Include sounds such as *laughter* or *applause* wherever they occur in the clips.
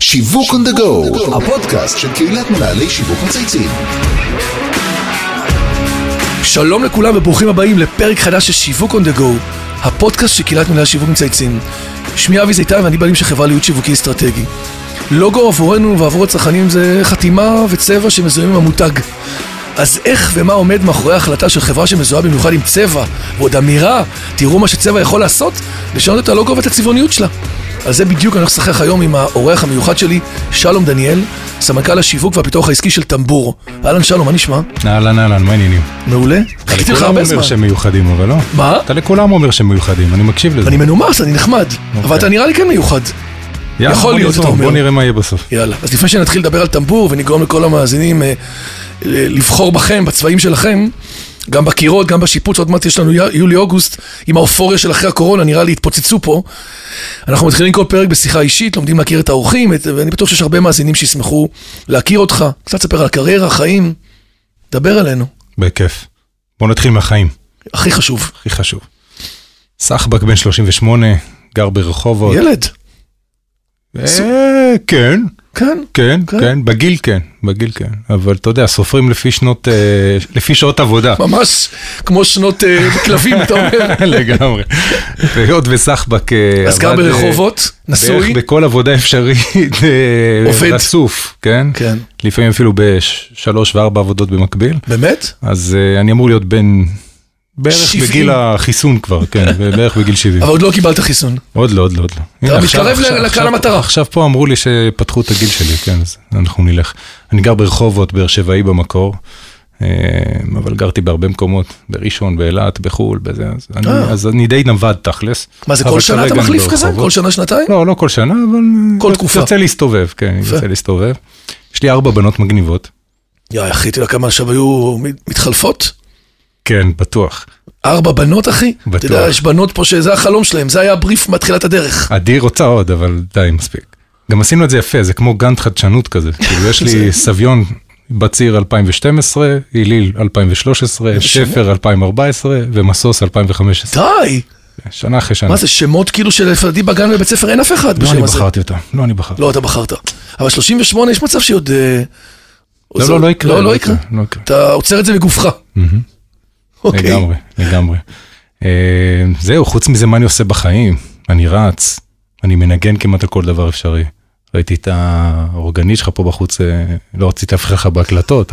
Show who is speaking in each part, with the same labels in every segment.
Speaker 1: שיווק on the go, הפודקאסט של קהילת מנהלי שיווק מצייצים.
Speaker 2: שלום לכולם וברוכים הבאים לפרק חדש של שיווק on the go, הפודקאסט של קהילת מנהלי שיווק מצייצים. שמי אבי זיתן ואני בעלים של חברה להיות שיווקי אסטרטגי. לוגו עבורנו ועבור הצרכנים זה חתימה וצבע שמזוהים עם המותג. אז איך ומה עומד מאחורי ההחלטה של חברה שמזוהה במיוחד עם צבע, ועוד אמירה, תראו מה שצבע יכול לעשות, לשנות את הלוגו ואת הצבעוניות שלה. על זה בדיוק אני הולך לשחק היום עם האורח המיוחד שלי, שלום דניאל, סמנכ"ל השיווק והפיתוח העסקי של טמבור. אהלן שלום, מה נשמע?
Speaker 3: אהלן אהלן, מה העניינים?
Speaker 2: מעולה?
Speaker 3: אתה
Speaker 2: חיכיתי לך
Speaker 3: לכולם
Speaker 2: הרבה
Speaker 3: אומר
Speaker 2: זמן.
Speaker 3: שהם מיוחדים, אבל לא.
Speaker 2: מה?
Speaker 3: אתה לכולם אומר שהם מיוחדים, אני מקשיב לזה.
Speaker 2: אני מנומס, אני נחמד, אבל
Speaker 3: אוקיי.
Speaker 2: אתה נראה לי כן מיוחד.
Speaker 3: יאללה,
Speaker 2: יכול
Speaker 3: בוא
Speaker 2: להיות,
Speaker 3: נזרום,
Speaker 2: אתה אומר.
Speaker 3: בוא נראה מה יהיה בסוף.
Speaker 2: יאללה. אז לפני שנתחיל לדבר על טמבור ונגרום לכל המאזינים אה, ל- לבחור בכם, בצבעים שלכם, גם בקירות, גם בשיפוץ, עוד מעט יש לנו י- יולי-אוגוסט, עם האופוריה של אחרי הקורונה, נראה לי התפוצצו פה. אנחנו מתחילים כל פרק בשיחה אישית, לומדים להכיר את האורחים, את- ואני בטוח שיש הרבה מאזינים שישמחו להכיר אותך, קצת ספר על הקריירה, חיים, דבר אלינו,
Speaker 3: בכיף. בוא נתחיל מהחיים,
Speaker 2: הכי חשוב.
Speaker 3: הכי חשוב. סחבק בן 38, גר ברחובות.
Speaker 2: ילד,
Speaker 3: אה, כן,
Speaker 2: כן,
Speaker 3: כן,
Speaker 2: כן.
Speaker 3: כן, בגיל כן, בגיל כן. אבל אתה יודע, סופרים לפי שנות, אה, לפי שעות עבודה.
Speaker 2: ממש כמו שנות אה, כלבים, אתה אומר.
Speaker 3: *laughs* כן,
Speaker 2: *laughs*
Speaker 3: לגמרי. והיות וסחבק אה,
Speaker 2: אז גר
Speaker 3: עבד, אה,
Speaker 2: ברחובות, נשוי.
Speaker 3: בערך בכל עבודה אפשרית, אה,
Speaker 2: עובד.
Speaker 3: רצוף, כן?
Speaker 2: כן.
Speaker 3: לפעמים אפילו בשלוש וארבע עבודות במקביל.
Speaker 2: באמת?
Speaker 3: אז אה, אני אמור להיות בן, בערך
Speaker 2: 70.
Speaker 3: בגיל החיסון כבר, כן, בערך בגיל 70.
Speaker 2: אבל עוד לא קיבלת חיסון.
Speaker 3: עוד לא, עוד לא, עוד לא. הנה, עכשיו-
Speaker 2: מתקרב ל-
Speaker 3: עכשיו-
Speaker 2: לקהל
Speaker 3: עכשיו-
Speaker 2: המטרה.
Speaker 3: עכשיו פה אמרו לי שפתחו את הגיל שלי, כן, אז אנחנו נלך. אני גר ברחובות, באר שבעי במקור, אה, אבל גרתי בהרבה מקומות, בראשון, באילת, בחו"ל, בזה, אז אני-
Speaker 2: אה.
Speaker 3: אז אני די נווד תכלס.
Speaker 2: מה זה
Speaker 3: אבל
Speaker 2: כל שנה אתה
Speaker 3: כרגע אני
Speaker 2: מחליף כזה?
Speaker 3: ברחובות.
Speaker 2: כל שנה שנתיים?
Speaker 3: לא, לא כל שנה, אבל...
Speaker 2: כל
Speaker 3: יוצא-
Speaker 2: תקופה.
Speaker 3: יוצא להסתובב, כן, יוצא להסתובב. יש לי ארבע בנות מגניבות.
Speaker 2: יא אחי, אתה יודע כמה עכשיו היו מת- מתחלפות?
Speaker 3: כן, בטוח.
Speaker 2: ארבע בנות אחי?
Speaker 3: בטוח.
Speaker 2: אתה יודע, יש בנות פה שזה החלום שלהם, זה היה הבריף מתחילת הדרך.
Speaker 3: עדי רוצה עוד, אבל די, מספיק. גם עשינו את זה יפה, זה כמו גאנט
Speaker 2: *laughs*
Speaker 3: חדשנות כזה. כאילו, יש לי סביון בציר 2012, היליל 2013, שפר 2014 ומסוס 2015.
Speaker 2: די!
Speaker 3: שנה אחרי שנה.
Speaker 2: מה זה, שמות כאילו שלפעמים בגן ובבית ספר אין אף אחד
Speaker 3: לא אני
Speaker 2: בשם הזה.
Speaker 3: בחרתי אותה, לא אני בחרתי.
Speaker 2: לא, אתה בחרת. אבל 38, יש מצב שעוד... אה,
Speaker 3: לא,
Speaker 2: זה-
Speaker 3: לא, לא יקרה.
Speaker 2: לא, לא יקרה.
Speaker 3: לא יקרה.
Speaker 2: אתה עוצר את זה מגופך. אוקיי.
Speaker 3: לגמרי, לגמרי. אה, זהו, חוץ מזה, מה אני עושה בחיים? אני רץ, אני מנגן כמעט על כל דבר אפשרי. ראיתי את האורגנית שלך פה בחוץ, אה, לא רציתי להפריע לך בהקלטות,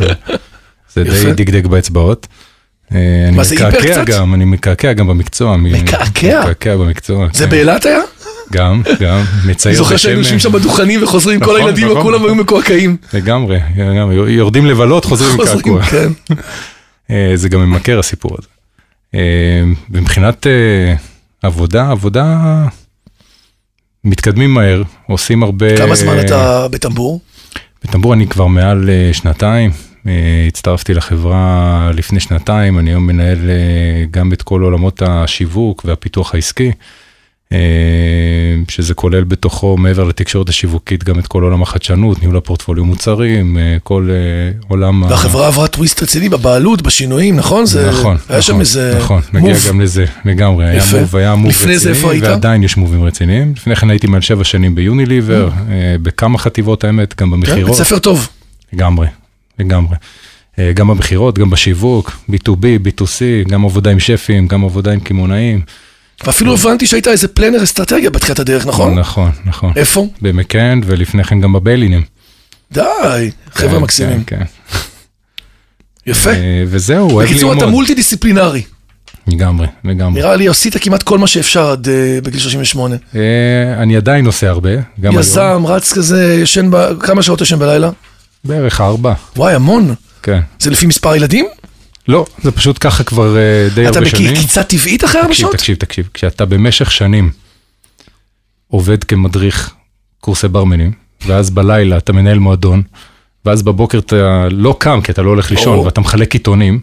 Speaker 2: *laughs*
Speaker 3: אבל זה
Speaker 2: יפה.
Speaker 3: די דגדג באצבעות. אה, אני
Speaker 2: מה, זה היפר
Speaker 3: מקעקע
Speaker 2: קצת?
Speaker 3: גם, אני מקעקע גם במקצוע. מ-
Speaker 2: מקעקע?
Speaker 3: מקעקע במקצוע.
Speaker 2: זה
Speaker 3: כן.
Speaker 2: באילת היה?
Speaker 3: גם, גם,
Speaker 2: אני
Speaker 3: מצייר
Speaker 2: זוכר שהיינו
Speaker 3: בשמן.
Speaker 2: יושבים שם בדוכנים וחוזרים, כל
Speaker 3: נכון,
Speaker 2: הילדים,
Speaker 3: נכון.
Speaker 2: כולם היו מקועקעים.
Speaker 3: לגמרי, לגמרי. יורדים לבלות, חוזרים עם
Speaker 2: חוזרים,
Speaker 3: קעקוע.
Speaker 2: כן.
Speaker 3: אה, זה גם ממכר הסיפור הזה. אה, מבחינת אה, עבודה, עבודה מתקדמים מהר, עושים הרבה...
Speaker 2: כמה זמן אתה בטמבור?
Speaker 3: אה. בטמבור אני כבר מעל אה, שנתיים, אה, הצטרפתי לחברה לפני שנתיים, אני היום מנהל אה, גם את כל עולמות השיווק והפיתוח העסקי, אה, שזה כולל בתוכו, מעבר לתקשורת השיווקית, גם את כל עולם החדשנות, ניהול הפורטפוליו מוצרים, אה, כל אה, עולם... ה-
Speaker 2: והחברה עברה טוויסט רציני בבעלות, בשינויים, נכון? זה-
Speaker 3: נכון,
Speaker 2: היה שם
Speaker 3: נכון,
Speaker 2: איזה
Speaker 3: נכון, נגיע
Speaker 2: מוב.
Speaker 3: גם לזה לגמרי, היה
Speaker 2: יפה.
Speaker 3: מוב, היה מוב
Speaker 2: לפני זה
Speaker 3: רציני,
Speaker 2: איפה היית?
Speaker 3: ועדיין יש מובים רציניים. לפני כן הייתי מעל שבע שנים ביוניליבר, אה, בכמה חטיבות האמת, גם
Speaker 2: Mm. כן, בית
Speaker 3: במכירות,
Speaker 2: ספר טוב.
Speaker 3: לגמרי, לגמרי. אה, גם במכירות, גם בשיווק, B2B, B2C, גם עבודה עם שפים, גם עבודה עם קמעונאים.
Speaker 2: ואפילו הבנתי שהיית איזה פלנר אסטרטגיה בתחילת הדרך, נכון?
Speaker 3: אה. נכון, נכון.
Speaker 2: איפה?
Speaker 3: במקאן, ולפני כן גם בביילינים.
Speaker 2: די, חבר'ה
Speaker 3: כן,
Speaker 2: מקסימים.
Speaker 3: כן, כן.
Speaker 2: יפה.
Speaker 3: אה, וזהו, אוהב
Speaker 2: בקיצור, אתה
Speaker 3: ללמוד.
Speaker 2: מולטי דיסציפלינרי.
Speaker 3: לגמרי, לגמרי.
Speaker 2: נראה לי עשית כמעט כל מה שאפשר עד אה, בגיל 38.
Speaker 3: אה, אני עדיין עושה הרבה, גם היום.
Speaker 2: יזם, רץ כזה, ישן, ב- כמה שעות ישן בלילה?
Speaker 3: בערך ארבע,
Speaker 2: וואי, המון.
Speaker 3: כן.
Speaker 2: זה לפי מספר ילדים?
Speaker 3: לא, זה פשוט ככה כבר אה, די
Speaker 2: אתה
Speaker 3: הרבה שנים.
Speaker 2: בקפיצה טבעית אחרי ארבע
Speaker 3: תקשיב,
Speaker 2: שעות?
Speaker 3: תקשיב, תקשיב. כשאתה במשך שנים עובד כמדריך קורסי ברמנים, ואז בלילה אתה מנהל מועדון, ואז בבוקר אתה לא קם כי אתה לא הולך לישון,
Speaker 2: ברור.
Speaker 3: ואתה מחלק עיתונים,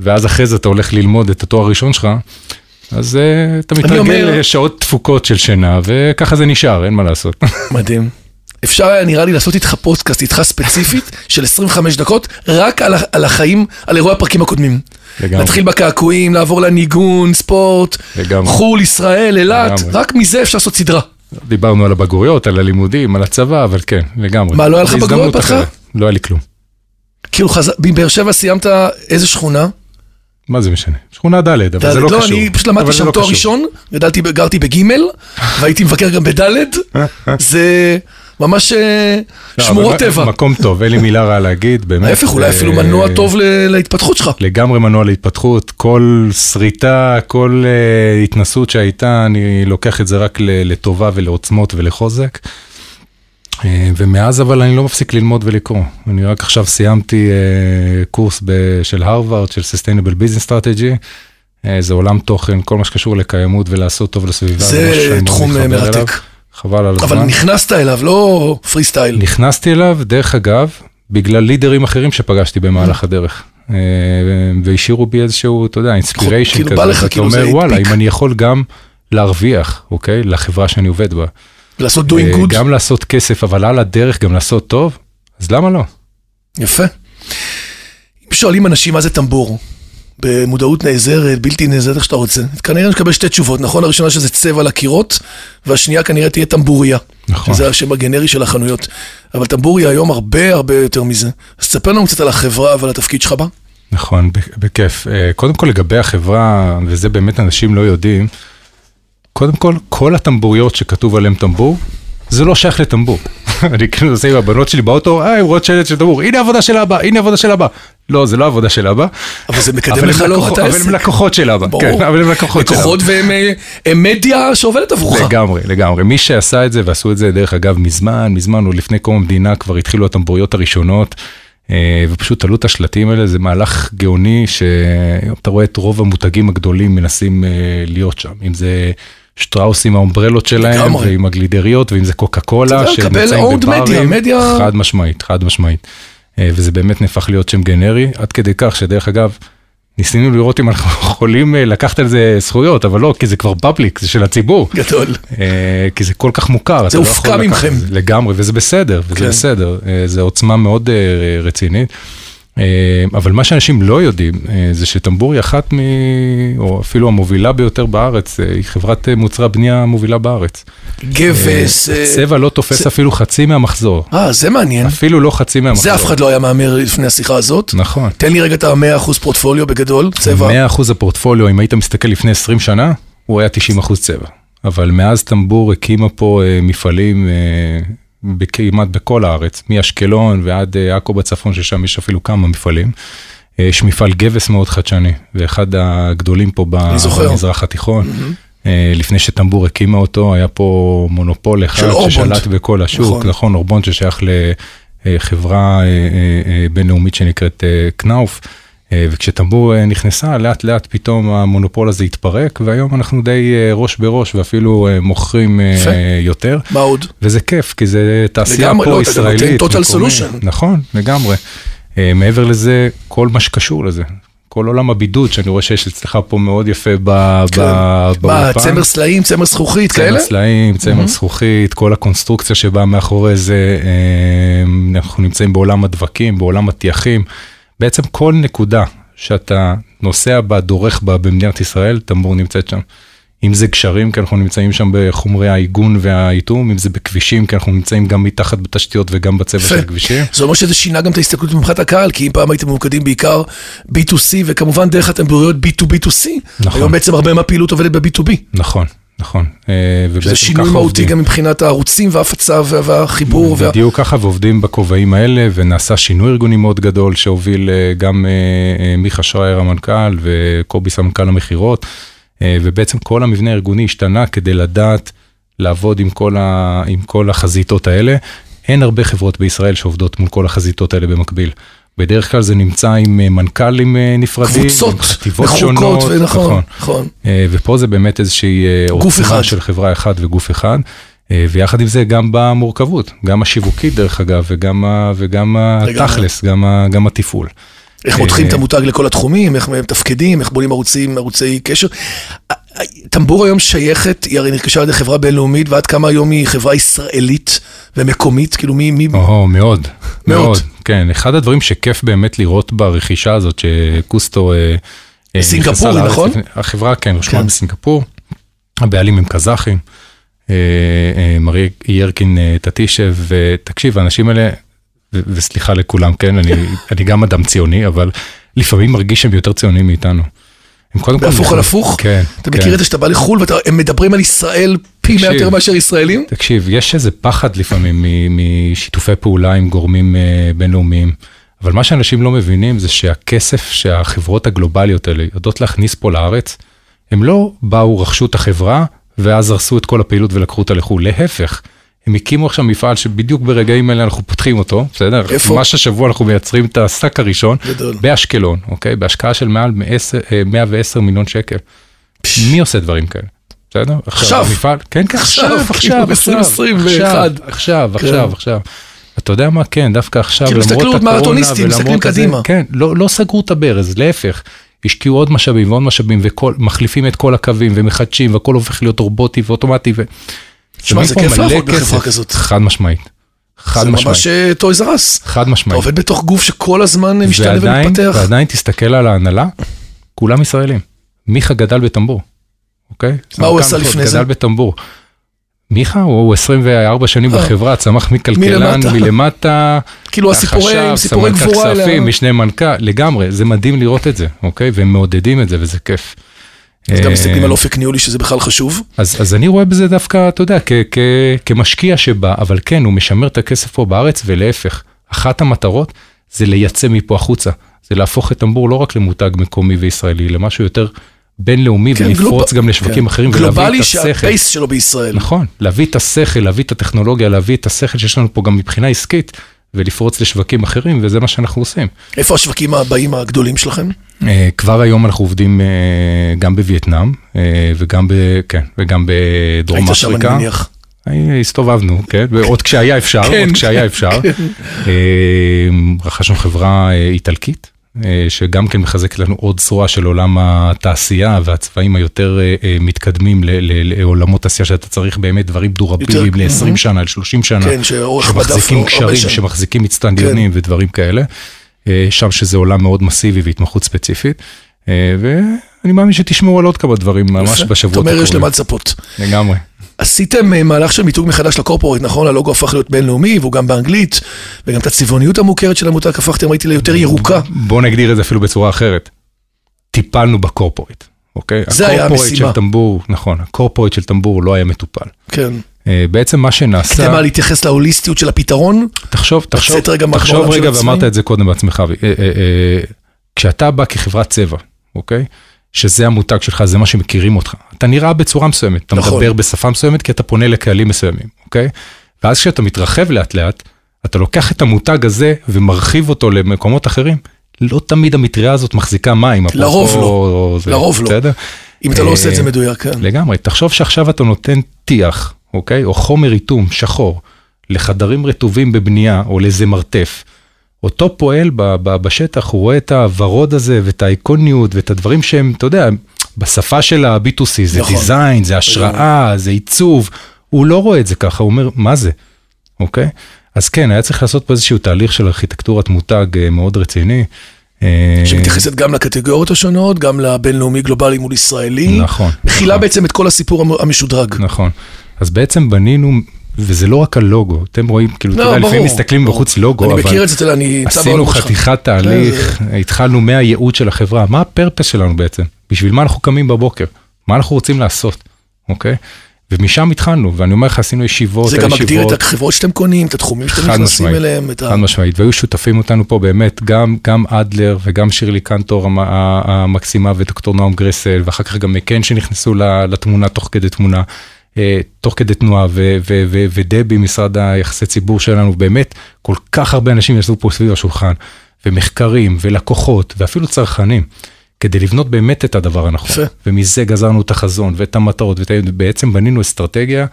Speaker 3: ואז אחרי זה אתה הולך ללמוד את התואר הראשון שלך, אז אה, אתה מתרגל
Speaker 2: אומר-
Speaker 3: לשעות תפוקות של שינה, וככה זה נשאר, אין מה לעשות. *laughs*
Speaker 2: מדהים. אפשר היה נראה לי לעשות איתך פודקאסט, איתך
Speaker 3: *laughs*
Speaker 2: ספציפית, של 25 דקות, רק על, ה- על החיים, על אירועי הפרקים הקודמים.
Speaker 3: לגמרי.
Speaker 2: נתחיל בקעקועים, לעבור לניגון, ספורט,
Speaker 3: לגמרי.
Speaker 2: חו"ל, ישראל, אילת,
Speaker 3: לגמרי.
Speaker 2: רק מזה אפשר לעשות סדרה.
Speaker 3: דיברנו על הבגרויות, על הלימודים, על הצבא, אבל כן, לגמרי.
Speaker 2: מה, לא היה לך
Speaker 3: זו הזדמנות
Speaker 2: בגרויות בהתחלה?
Speaker 3: אחרת. לא היה לי כלום.
Speaker 2: כאילו, חז... מבאר שבע סיימת איזה שכונה?
Speaker 3: מה זה משנה? שכונה ד', אבל זה לא קשור.
Speaker 2: אני פשוט
Speaker 3: אבל
Speaker 2: למדתי
Speaker 3: זה
Speaker 2: שם
Speaker 3: לא
Speaker 2: תואר
Speaker 3: קשור.
Speaker 2: ראשון, גדלתי, ב- גרתי
Speaker 3: *laughs*
Speaker 2: בגימל, והייתי מבקר גם בדלת. זה ממש אה,
Speaker 3: לא,
Speaker 2: שמורות
Speaker 3: אבל
Speaker 2: טבע.
Speaker 3: מקום טוב, אין לי מילה רעה להגיד, באמת.
Speaker 2: ההפך, אולי
Speaker 3: אה,
Speaker 2: אפילו מנוע טוב ל- להתפתחות שלך.
Speaker 3: לגמרי מנוע להתפתחות, כל שריטה, כל uh, התנסות שהייתה, אני לוקח את זה רק ל- לטובה ולעוצמות ולחוזק. Uh, ומאז אבל אני לא מפסיק ללמוד ולקרוא. אני רק עכשיו סיימתי uh, קורס ב- של הרווארד, של Sustainable Business Strategy. Uh, זה עולם תוכן, כל מה שקשור לקיימות ולעשות טוב לסביבה.
Speaker 2: זה
Speaker 3: משהו שאני מאוד
Speaker 2: תחום, אה,
Speaker 3: מתחבר
Speaker 2: מרתק.
Speaker 3: אליו. חבל על
Speaker 2: אבל
Speaker 3: הזמן.
Speaker 2: נכנסת אליו, לא פרי סטייל.
Speaker 3: נכנסתי אליו, דרך אגב, בגלל לידרים אחרים שפגשתי במהלך
Speaker 2: Mm.
Speaker 3: הדרך. אה, והשאירו בי איזשהו, אתה יודע, אינספיריישן
Speaker 2: כאילו
Speaker 3: כזה.
Speaker 2: בא לך,
Speaker 3: ואתה
Speaker 2: כאילו זה
Speaker 3: אומר, וואלה,
Speaker 2: הדביק."
Speaker 3: אם אני יכול גם להרוויח, אוקיי? לחברה שאני עובד בה.
Speaker 2: לעשות
Speaker 3: אה,
Speaker 2: doing good.
Speaker 3: גם לעשות כסף, אבל על הדרך גם לעשות טוב, אז למה לא?
Speaker 2: יפה. אם שואלים אנשים מה זה טמבור, במודעות נעזרת, בלתי נעזרת, איך שאתה רוצה, כנראה נקבל שתי תשובות, נכון? הראשונה שזה צבע לקירות, והשנייה כנראה תהיה טמבוריה.
Speaker 3: נכון.
Speaker 2: שזה השם הגנרי של החנויות. אבל טמבוריה היום הרבה הרבה יותר מזה. אז תספר לנו קצת על החברה ועל התפקיד שלך בה.
Speaker 3: נכון, ב- בכיף. אה, קודם כל לגבי החברה, וזה באמת אנשים לא יודעים, קודם כל, כל הטמבוריות שכתוב עליהן טמבור, זה לא שייך לטמבור. *laughs* אני כאילו נוסע עם הבנות שלי באוטו, אה, הן רואות שלט של טמבור, הנה העבודה של אבא, הנה העבודה של אבא. לא, זה לא העבודה של אבא.
Speaker 2: אבל זה מקדם
Speaker 3: אבל
Speaker 2: לך
Speaker 3: הם
Speaker 2: לא
Speaker 3: לקוח-
Speaker 2: את העסק.
Speaker 3: אבל הם לקוחות של אבא.
Speaker 2: ברור.
Speaker 3: כן, אבל הם לקוחות של אבא.
Speaker 2: לקוחות והם אה, הם מדיה שעובדת עבורך.
Speaker 3: לגמרי, לגמרי. מי שעשה את זה, ועשו את זה דרך אגב מזמן, מזמן, עוד לפני קום המדינה, כבר התחילו הטמבוריות הראשונות, אה, ופשוט תלו את השלטים האלה, זה מהלך גאוני, שהיום אתה רואה את רוב המותגים הגדולים מנסים אה, להיות שם, אם זה... שטראוס עם האומברלות שלהם,
Speaker 2: לגמרי.
Speaker 3: ועם הגלידריות, ואם זה קוקה
Speaker 2: אתה
Speaker 3: קולה,
Speaker 2: יודע, לקבל
Speaker 3: שנמצאים
Speaker 2: owned media,
Speaker 3: בברים,
Speaker 2: media-
Speaker 3: חד משמעית, חד משמעית. אה, וזה באמת נהפך להיות שם גנרי, עד כדי כך שדרך אגב, ניסינו לראות אם אנחנו *laughs* יכולים אה, לקחת על זה זכויות, אבל לא, כי זה כבר פאבליק, זה של הציבור.
Speaker 2: גדול.
Speaker 3: אה, כי זה כל כך מוכר. אתה לא
Speaker 2: הופקע
Speaker 3: יכול לקחת את
Speaker 2: ממכם.
Speaker 3: זה. לגמרי, וזה בסדר,
Speaker 2: כן.
Speaker 3: וזה בסדר. אה, זו עוצמה מאוד אה, רצינית. אה, אבל מה שאנשים לא יודעים, אה, זה שטמבור היא אחת מ... או אפילו המובילה ביותר בארץ, אה, היא חברת אה, מוצרי הבנייה המובילה בארץ.
Speaker 2: גבס. אה,
Speaker 3: הצבע לא תופס
Speaker 2: זה-
Speaker 3: אפילו חצי מהמחזור.
Speaker 2: אה, זה מעניין.
Speaker 3: אפילו לא חצי מהמחזור.
Speaker 2: זה אף אחד לא היה מהמר לפני השיחה הזאת.
Speaker 3: נכון.
Speaker 2: תן לי רגע את ה-100% פורטפוליו בגדול, צבע.
Speaker 3: 100% הפורטפוליו, אם היית מסתכל לפני 20 שנה, הוא היה 90% צבע. אבל מאז טמבור הקימה פה אה, מפעלים אה, בכ- כמעט בכל הארץ, מאשקלון ועד אה, עכו בצפון, ששם יש אפילו כמה מפעלים. אה, יש מפעל גבס מאוד חדשני, ואחד הגדולים פה ב-
Speaker 2: זוכר.
Speaker 3: במזרח התיכון. אה, לפני שטמבור הקימה אותו, היה פה מונופול אחד
Speaker 2: של אורבונד.
Speaker 3: ששלט בכל השוק,
Speaker 2: נכון.
Speaker 3: נכון, נכון אורבונד ששייך לחברה אה, אה, אה, בינלאומית שנקראת אה, קנאוף, אה, וכשטמבור אה, נכנסה, לאט לאט פתאום המונופול הזה התפרק, והיום אנחנו די אה, ראש בראש ואפילו אה, מוכרים אה,
Speaker 2: יפה.
Speaker 3: יותר.
Speaker 2: מה עוד?
Speaker 3: וזה כיף, כי זה תעשייה
Speaker 2: לגמרי, לא,
Speaker 3: פה
Speaker 2: אתה גם
Speaker 3: ישראלית.
Speaker 2: נותן total
Speaker 3: מקומית.
Speaker 2: solution.
Speaker 3: נכון, לגמרי. אה, מעבר לזה, כל מה שקשור לזה. כל עולם הבידוד, שאני רואה שיש אצלך פה מאוד יפה ב-
Speaker 2: כן.
Speaker 3: ב-
Speaker 2: מה,
Speaker 3: באולפן.
Speaker 2: צמר סלעים, צמר זכוכית, כאלה?
Speaker 3: צמר סלעים, צמר זכוכית, כל הקונסטרוקציה שבאה מאחורי זה, אה, אנחנו נמצאים בעולם הדבקים, בעולם הטיחים. בעצם כל נקודה שאתה נוסע בה, דורך בה במדינת ישראל, טמבור נמצאת שם. אם זה גשרים, כי אנחנו נמצאים שם בחומרי העיגון והאיטום, אם זה בכבישים, כי אנחנו נמצאים גם מתחת בתשתיות וגם בצבע
Speaker 2: יפה.
Speaker 3: של כבישים.
Speaker 2: זה אומר שזה שינה גם את ההסתכלות מבחינת הקהל, כי אם פעם הייתם ממוקדים בעיקר B2C, וכמובן דרך הטמבוריות B2B2C,
Speaker 3: נכון.
Speaker 2: היום בעצם הרבה מהפעילות עובדת ב-B2B.
Speaker 3: נכון, נכון. אה, ובעצם
Speaker 2: שזה שינוי
Speaker 3: ככה
Speaker 2: מהותי
Speaker 3: עובדים.
Speaker 2: גם מבחינת הערוצים וההפצה וה- והחיבור. וה-
Speaker 3: בדיוק ככה, ועובדים בכובעים האלה, ונעשה שינוי ארגוני מאוד גדול, שהוביל אה, גם אה, אה, מיכה שרייר המנכ"ל וקובי סמנכ"ל המכירות, אה, ובעצם כל המבנה הארגוני השתנה כדי לדעת לעבוד עם כל, ה, עם כל החזיתות האלה. אין הרבה חברות בישראל שעובדות מול כל החזיתות האלה במקביל. בדרך כלל זה נמצא עם אה, מנכ"לים אה, נפרדים,
Speaker 2: קבוצות
Speaker 3: עם חטיבות
Speaker 2: מחוקות,
Speaker 3: שונות,
Speaker 2: ונכון, נכון.
Speaker 3: אה, ופה זה באמת איזושהי אה,
Speaker 2: גוף אחד.
Speaker 3: עוצמה של חברה אחת וגוף אחד. אה, ויחד עם זה גם במורכבות, גם השיווקית דרך אגב, וגם, ה, וגם התכלס, גם, ה, גם התפעול.
Speaker 2: איך
Speaker 3: אה,
Speaker 2: מותחים
Speaker 3: אה.
Speaker 2: את המותג לכל התחומים, איך מתפקדים, איך בונים ערוצים, ערוצי קשר. אה, אה, טמבור היום שייכת, היא הרי נרכשה על ידי חברה בינלאומית, ועד כמה היום היא חברה ישראלית ומקומית, כאילו מי, מי,
Speaker 3: או, מאוד,
Speaker 2: *laughs* מאוד.
Speaker 3: מאוד. כן, אחד הדברים שכיף באמת לראות ברכישה הזאת, שקוסטו... אה, אה, נכנסה
Speaker 2: סינגפורי,
Speaker 3: לארץ
Speaker 2: נכון?
Speaker 3: לפני- החברה, כן, רשומה
Speaker 2: כן.
Speaker 3: בסינגפור, הבעלים הם קזחים. אה, אה, מריה ירקין אה, תתישב, ותקשיב, האנשים האלה, ו- וסליחה לכולם,
Speaker 2: *laughs*
Speaker 3: כן, אני, אני גם אדם ציוני, אבל לפעמים מרגיש שהם יותר ציונים מאיתנו. הם קודם כל...
Speaker 2: בהפוך על הפוך?
Speaker 3: כן.
Speaker 2: אתה מכיר את זה שאתה בא לחו"ל והם מדברים על ישראל פי מאה
Speaker 3: תקשיב.
Speaker 2: יותר מאשר ישראלים?
Speaker 3: תקשיב, יש איזה פחד לפעמים מ- משיתופי פעולה עם גורמים אה, בינלאומיים, אבל מה שאנשים לא מבינים זה שהכסף שהחברות הגלובליות האלה יודעות להכניס פה לארץ, הם לא באו, רכשו את החברה, ואז הרסו את כל הפעילות ולקחו אותה לחו"ל, להפך. הם הקימו עכשיו מפעל שבדיוק ברגעים אלה אנחנו פותחים אותו, בסדר?
Speaker 2: איפה?
Speaker 3: ממש השבוע אנחנו מייצרים את השק הראשון,
Speaker 2: גדול.
Speaker 3: באשקלון, אוקיי? בהשקעה של מעל 110, אה, 110 מיליון שקל. מי עושה דברים כאלה? בסדר?
Speaker 2: עכשיו.
Speaker 3: המפעל, כן, כן, עכשיו,
Speaker 2: עכשיו,
Speaker 3: עכשיו,
Speaker 2: כאילו,
Speaker 3: עכשיו,
Speaker 2: 2021.
Speaker 3: עכשיו, עכשיו,
Speaker 2: כן.
Speaker 3: עכשיו, עכשיו. אתה יודע מה? כן, דווקא עכשיו,
Speaker 2: כאילו,
Speaker 3: למרות הקורונה,
Speaker 2: הסתכלות מרתוניסטים,
Speaker 3: ולמרות
Speaker 2: מסתכלים
Speaker 3: הזה-
Speaker 2: קדימה.
Speaker 3: כן, לא לא סגרו את הברז, להפך. השקיעו עוד משאבים ועוד משאבים, ומחליפים את כל הקווים, ומחדשים, והכל הופך להיות רובוטי ואוטומטי. ו-
Speaker 2: שמע, זה
Speaker 3: שמים פה
Speaker 2: כיף
Speaker 3: מלא
Speaker 2: לעבוד בחברה
Speaker 3: כסף.
Speaker 2: כזאת.
Speaker 3: חד משמעית. חד
Speaker 2: זה ממש
Speaker 3: משמעית.
Speaker 2: אה, טויז אר אס.
Speaker 3: חד
Speaker 2: אתה
Speaker 3: משמעית.
Speaker 2: עובד בתוך גוף שכל הזמן משתנה
Speaker 3: ועדיין,
Speaker 2: ומתפתח.
Speaker 3: ועדיין תסתכל על ההנהלה, כולם ישראלים. מיכה גדל בטמבור, אוקיי?
Speaker 2: מה הוא
Speaker 3: סמנכ"ל
Speaker 2: עשה
Speaker 3: מכירות,
Speaker 2: לפני זה?
Speaker 3: גדל בטמבור. מיכה הוא הוא 24 שנים
Speaker 2: אה.
Speaker 3: בחברה, צמח מכלכלן
Speaker 2: מלמטה. *laughs*
Speaker 3: מלמטה,
Speaker 2: כאילו הסיפורי,
Speaker 3: החשב,
Speaker 2: סיפורי
Speaker 3: סמנכ"ל
Speaker 2: גבורה
Speaker 3: כספים,
Speaker 2: האלה.
Speaker 3: משנה מנכ"ל, לגמרי, זה מדהים לראות את זה, אוקיי? והם מעודדים את זה וזה כיף.
Speaker 2: אז גם
Speaker 3: אה,
Speaker 2: מסתכלים על אופק ניהולי שזה בכלל חשוב.
Speaker 3: אז, אז אני רואה בזה דווקא, אתה יודע, כ, כ, כמשקיע שבא, אבל כן, הוא משמר את הכסף פה בארץ, ולהפך, אחת המטרות זה לייצא מפה החוצה. זה להפוך את טמבור לא רק למותג מקומי וישראלי, למשהו יותר בינלאומי,
Speaker 2: כן,
Speaker 3: כן, ולפרוץ
Speaker 2: גלוב-
Speaker 3: גם לשווקים
Speaker 2: כן.
Speaker 3: אחרים, ולהביא
Speaker 2: גלובלי
Speaker 3: את השכל.
Speaker 2: שהבייס שלו בישראל.
Speaker 3: נכון, להביא את השכל, להביא את הטכנולוגיה, להביא את השכל שיש לנו פה גם מבחינה עסקית, ולפרוץ לשווקים אחרים, וזה מה שאנחנו עושים.
Speaker 2: איפה השווקים הבאים הגדולים שלכם?
Speaker 3: אה, כבר היום אנחנו עובדים אה, גם בווייטנאם, אה, וגם, ב, כן, וגם בדרום
Speaker 2: היית
Speaker 3: אפריקה.
Speaker 2: שם אני מניח.
Speaker 3: אה, הסתובבנו, כן, עוד כשהיה אפשר,
Speaker 2: כן.
Speaker 3: עוד כשהיה אפשר. אה, רכשנו חברה אה, איטלקית, אה, שגם כן מחזקת לנו עוד זרוע של עולם התעשייה והצבעים היותר אה, אה, מתקדמים ל- ל- לעולמות תעשייה שאתה צריך באמת דברים דורביליים
Speaker 2: יותר-
Speaker 3: ל-20 שנה, ל-30 שנה,
Speaker 2: כן, שאורך בדף לא
Speaker 3: שמחזיקים
Speaker 2: הרבה
Speaker 3: קשרים,
Speaker 2: שנים. כן.
Speaker 3: שמחזיקים מצטנדיונים ודברים כאלה. אה, שם שזה עולם מאוד מסיבי והתמחות ספציפית. אה, ואני מאמין שתשמעו על עוד כמה דברים ממש
Speaker 2: יפה.
Speaker 3: בשבועות
Speaker 2: אתה
Speaker 3: הקרובים.
Speaker 2: אומר, יש למה לצפות.
Speaker 3: לגמרי.
Speaker 2: עשיתם אה, מהלך של מיתוג מחדש לקורפורט, נכון? הלוגו הפך להיות בינלאומי, והוא גם באנגלית, וגם את הצבעוניות המוכרת של המותג הפכתם, ראיתי, ליותר ירוקה.
Speaker 3: בוא נגדיר את זה אפילו בצורה אחרת. טיפלנו בקורפורט, אוקיי?
Speaker 2: זה היה
Speaker 3: הקורפורט
Speaker 2: המשימה.
Speaker 3: של טמבור, נכון, הקורפורט של טמבור לא היה מטופל.
Speaker 2: כן.
Speaker 3: אה, בעצם מה
Speaker 2: כדי
Speaker 3: שנעשה,
Speaker 2: מה, להתייחס להוליסטיות של הפתרון?
Speaker 3: תחשוב, תחשוב,
Speaker 2: לצאת רגע מהעולם
Speaker 3: תחשוב
Speaker 2: של
Speaker 3: רגע,
Speaker 2: עצמי?
Speaker 3: ואמרת את זה קודם בעצמך, אה, אה, אה, כשאתה בא כחברת צבע, אוקיי? שזה המותג שלך, זה מה שמכירים אותך. אתה נראה בצורה מסוימת, אתה
Speaker 2: נכון.
Speaker 3: מדבר בשפה מסוימת, כי אתה פונה לקהלים מסוימים, אוקיי? ואז כשאתה מתרחב לאט לאט, אתה לוקח את המותג הזה ומרחיב אותו למקומות אחרים. לא תמיד המטריה הזאת מחזיקה מים.
Speaker 2: לרוב לא.
Speaker 3: אפרופו- זה-
Speaker 2: לרוב לא.
Speaker 3: בסדר?
Speaker 2: אם אתה לא
Speaker 3: אה,
Speaker 2: עושה את זה מדויק, כן.
Speaker 3: לגמרי, תחשוב שעכשיו אתה נותן טיח, אוקיי? או חומר איתום שחור לחדרים רטובים בבנייה או לאיזה מרתף. אותו פועל ב- ב- בשטח, הוא רואה את הוורוד הזה ואת האיקוניות ואת הדברים שהם, אתה יודע, בשפה של ה-B2C, זה
Speaker 2: נכון.
Speaker 3: דיזיין, זה השראה, זה עיצוב, הוא לא רואה את זה ככה, הוא אומר, מה זה? אוקיי? אז כן, היה צריך לעשות פה איזשהו תהליך של ארכיטקטורת מותג אה, מאוד רציני. אה,
Speaker 2: שמתייחסת גם לקטגוריות השונות, גם לבינלאומי גלובלי מול ישראלי.
Speaker 3: נכון.
Speaker 2: מכילה
Speaker 3: נכון.
Speaker 2: בעצם את כל הסיפור המ- המשודרג.
Speaker 3: נכון. אז בעצם בנינו, וזה לא רק הלוגו, אתם רואים, כאילו, אתה
Speaker 2: לא,
Speaker 3: יודע,
Speaker 2: ברור,
Speaker 3: לפעמים מסתכלים
Speaker 2: ברור.
Speaker 3: בחוץ לוגו,
Speaker 2: אני
Speaker 3: אבל...
Speaker 2: מכיר את זה, אתה יודע, אני... נמצא
Speaker 3: עשינו
Speaker 2: בעולם שלך. כן,
Speaker 3: חתיכת תהליך, התחלנו מהייעוד של החברה, מה הפרפס שלנו בעצם? בשביל מה אנחנו קמים בבוקר? מה אנחנו רוצים לעשות, אוקיי? ומשם התחלנו, ואני אומר לך, עשינו ישיבות,
Speaker 2: זה גם
Speaker 3: על
Speaker 2: מגדיר
Speaker 3: ישיבות.
Speaker 2: את החברות שאתם קונים, את התחומים שאתם
Speaker 3: חד
Speaker 2: נכנסים
Speaker 3: משמעית.
Speaker 2: אליהם, את ה...
Speaker 3: חד משמעית, והיו שותפים אותנו פה באמת, גם, גם אדלר וגם שירלי קנטור המ- ה- המקסימה ודוקטור נועם גרסל, ואחר כך גם מקן שנכנסו ל- לתמונה תוך כדי תמונה, אה, תוך כדי תנועה, ו- ו- ו- ודבי משרד היחסי ציבור שלנו, באמת, כל כך הרבה אנשים ישבו פה סביב השולחן, ומחקרים, ולקוחות, ואפילו צרכנים. כדי לבנות באמת את הדבר הנכון,
Speaker 2: יפה.
Speaker 3: ומזה גזרנו את החזון ואת המטרות, ובעצם בנינו אסטרטגיה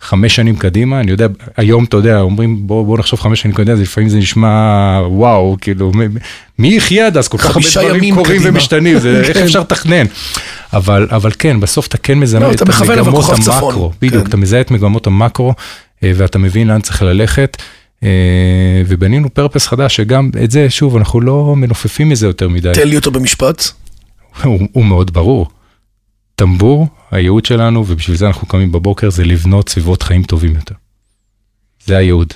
Speaker 3: חמש שנים קדימה, אני יודע, היום אתה יודע, אומרים בוא, בוא נחשוב חמש שנים קדימה, זה לפעמים זה נשמע וואו, כאילו מ- מ- מי יחיה עד אז, כל כך הרבה
Speaker 2: חמישה
Speaker 3: דברים
Speaker 2: ימים
Speaker 3: קורים
Speaker 2: קדימה.
Speaker 3: ומשתנים, זה,
Speaker 2: *laughs*
Speaker 3: איך
Speaker 2: כן.
Speaker 3: אפשר לתכנן. אבל, אבל כן, בסוף אתה כן מזהה
Speaker 2: לא,
Speaker 3: את
Speaker 2: אתה מכוון, אבל
Speaker 3: מגמות
Speaker 2: כוכב צפון.
Speaker 3: המקרו,
Speaker 2: כן.
Speaker 3: בדיוק, אתה מזהה את מגמות המקרו אה, ואתה מבין לאן צריך ללכת. אה, ובנינו פרפס חדש שגם את זה שוב אנחנו לא מנופפים מזה יותר מדי, *laughs*
Speaker 2: תן לי אותו במשפט.
Speaker 3: הוא, הוא מאוד ברור. טמבור, הייעוד שלנו, ובשביל זה אנחנו קמים בבוקר, זה לבנות סביבות חיים טובים יותר. זה הייעוד,